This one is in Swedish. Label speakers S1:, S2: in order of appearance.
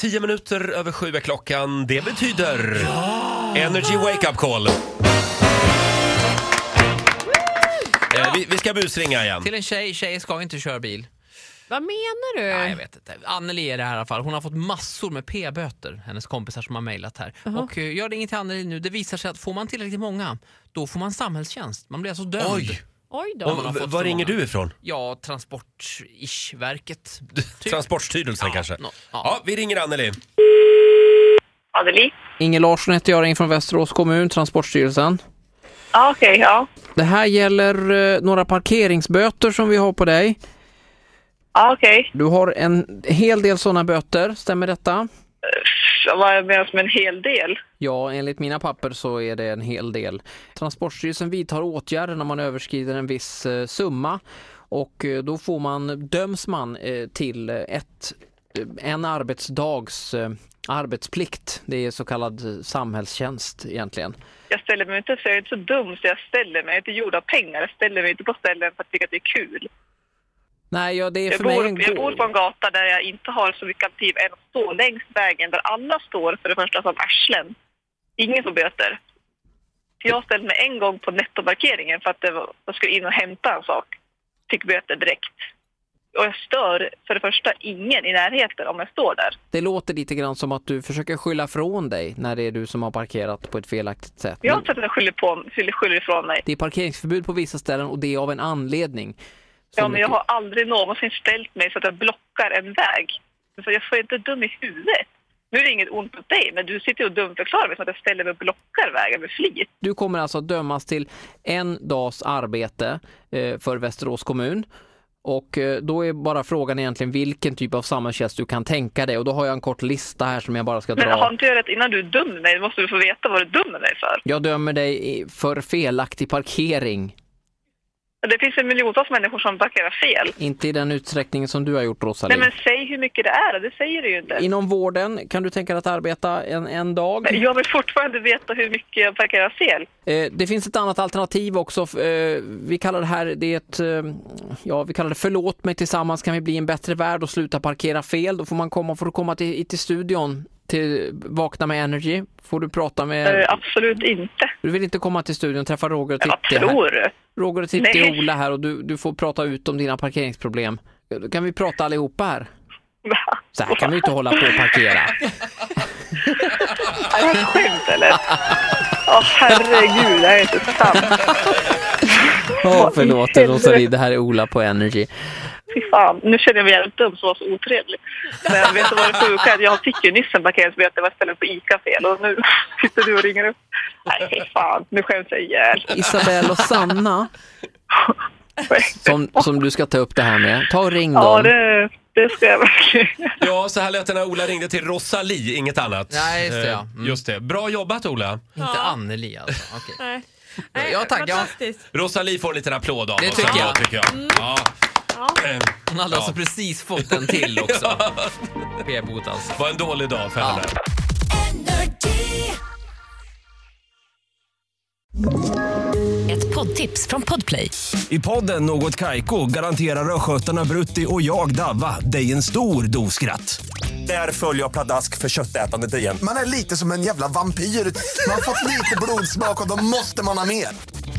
S1: Tio minuter över sju är klockan. Det betyder Energy Wake Up Call. Eh, vi, vi ska busringa igen.
S2: Till en tjej, tjejer ska inte köra bil.
S3: Vad menar du?
S2: Nej, jag vet inte. Anneli är det här i alla fall. Hon har fått massor med p-böter, hennes kompisar som har mejlat här. Och eh, jag ringer till Anneli nu. Det visar sig att får man tillräckligt många, då får man samhällstjänst. Man blir alltså dömd.
S1: Oj!
S3: Oj då.
S2: Om man har
S1: Och,
S2: fått
S1: var
S2: så
S1: ringer
S2: många.
S1: du ifrån?
S2: Ja, Transport-ish-verket. Typ.
S1: Transportstyrelsen
S2: Ja,
S1: kanske?
S2: nå- ja.
S1: Ja, vi ringer Anneli.
S4: Anneli?
S2: Inger Larsson heter jag, ringer från Västerås kommun, Transportstyrelsen.
S4: Ja, okej, ja.
S2: Det här gäller eh, några parkeringsböter som vi har på dig.
S4: Ja, okej.
S2: Du har en hel del sådana böter, stämmer detta?
S4: Så Vad menas med en hel del?
S2: Ja, enligt mina papper så är det en hel del. Transportstyrelsen vidtar åtgärder när man överskrider en viss eh, summa och eh, då får man, döms man eh, till eh, ett, eh, en arbetsdags eh, arbetsplikt. Det är så kallad eh, samhällstjänst egentligen.
S4: Jag ställer mig inte, så jag är inte så dum så jag ställer mig. Jag är inte gjord av pengar. Jag ställer mig inte på ställen för att tycka att det är kul.
S2: Nej, ja, det är
S4: Jag
S2: för mig
S4: bor,
S2: en
S4: jag bor
S2: gåva.
S4: på en gata där jag inte har så mycket alternativ än att stå längs vägen där alla står för det första som arslen. Ingen får böter. Jag ställde mig en gång på nettoparkeringen för att det var, jag skulle in och hämta en sak. Fick böter direkt. Och jag stör för det första ingen i närheten om jag står där.
S2: Det låter lite grann som att du försöker skylla från dig när det är du som har parkerat på ett felaktigt sätt.
S4: Jag har
S2: Men
S4: inte att jag skyller, på, skyller, skyller ifrån mig.
S2: det är parkeringsförbud på vissa ställen och det är av en anledning.
S4: Ja,
S2: Som-
S4: men jag har aldrig någonsin ställt mig så att jag blockar en väg. För jag får inte dum i huvudet. Nu är det inget ont mot dig, men du sitter och dumförklarar mig som att jag ställer mig och blockar vägen med flit.
S2: Du kommer alltså att dömas till en dags arbete eh, för Västerås kommun. Och eh, då är bara frågan egentligen vilken typ av samhällstjänst du kan tänka dig. Och då har jag en kort lista här som jag bara ska
S4: Men har
S2: dra.
S4: inte jag rätt innan du dömer mig måste du få veta vad du dömer mig för.
S2: Jag dömer dig i- för felaktig parkering.
S4: Men Det finns en miljontals människor som parkerar fel.
S2: Inte i den utsträckning som du har gjort, Rosalie.
S4: Nej, men säg hur mycket det är. Det säger du ju inte.
S2: Inom vården, kan du tänka dig att arbeta en, en dag?
S4: Jag vill fortfarande veta hur mycket jag parkerar fel.
S2: Eh, Det finns ett annat alternativ också. F- eh, Vi kallar det här, det är ett, eh, ja vi kallar det förlåt mig tillsammans kan vi bli en bättre värld och sluta parkera fel. Då får man komma, får du komma till, till studion till Vakna med Energy. Får du prata
S4: Eh,
S2: med,
S4: absolut inte.
S2: du vill inte komma till studion och träffa Roger och
S4: Vad
S2: Titti här.
S4: tror du?
S2: Roger och Titti och
S4: Nej.
S2: Ola här och du, du får prata ut om dina parkeringsproblem. Eh, Då kan vi prata allihopa här.
S4: Va?
S2: Så här kan vi inte hålla på och parkera.
S4: Är det här skämt eller? Åh herregud, det här är inte sant.
S2: Åh förlåt Rosalie, det här är Ola på Energy.
S4: Fy fan, nu känner jag mig jävligt dum som var så otrevlig. Men vet du vad det sjuka är? Jag fick ju nyss en parkeringsböter, det var istället på ICA fel och nu sitter du och ringer upp. Nej fy fan, nu skäms jag ihjäl.
S2: Isabelle och Sanna som, som du ska ta upp det här med. Ta och ring
S4: Ja,
S2: dem.
S4: det, det ska jag verkligen.
S1: Ja, så här lät det när Ola ringde till Rosalie, inget annat.
S2: Nej, just det,
S1: Eh,
S2: ja. Mm.
S1: Just det. Bra jobbat Ola.
S2: Inte Anneli alltså. Okej.
S3: Nej. Nej,
S2: Ja, tack, ja.
S3: Fantastiskt.
S1: Rosalie får en liten applåd av
S2: Det
S1: oss
S2: tycker
S1: ändå,
S2: jag. Mm.
S1: tycker jag. Ja. Eh,
S2: Hon hade alltså precis fått en till också. P-bot alltså.
S1: var en dålig dag för
S2: Ja.
S1: henne.
S5: Ett poddtips från Podplay.
S6: I podden Något Kaiko garanterar östgötarna Brutti och jag, Davva, dig en stor dos skratt. Där följer jag pladask för köttätandet igen.
S7: Man är lite som en jävla vampyr. Man har fått lite blodsmak och då måste man ha mer.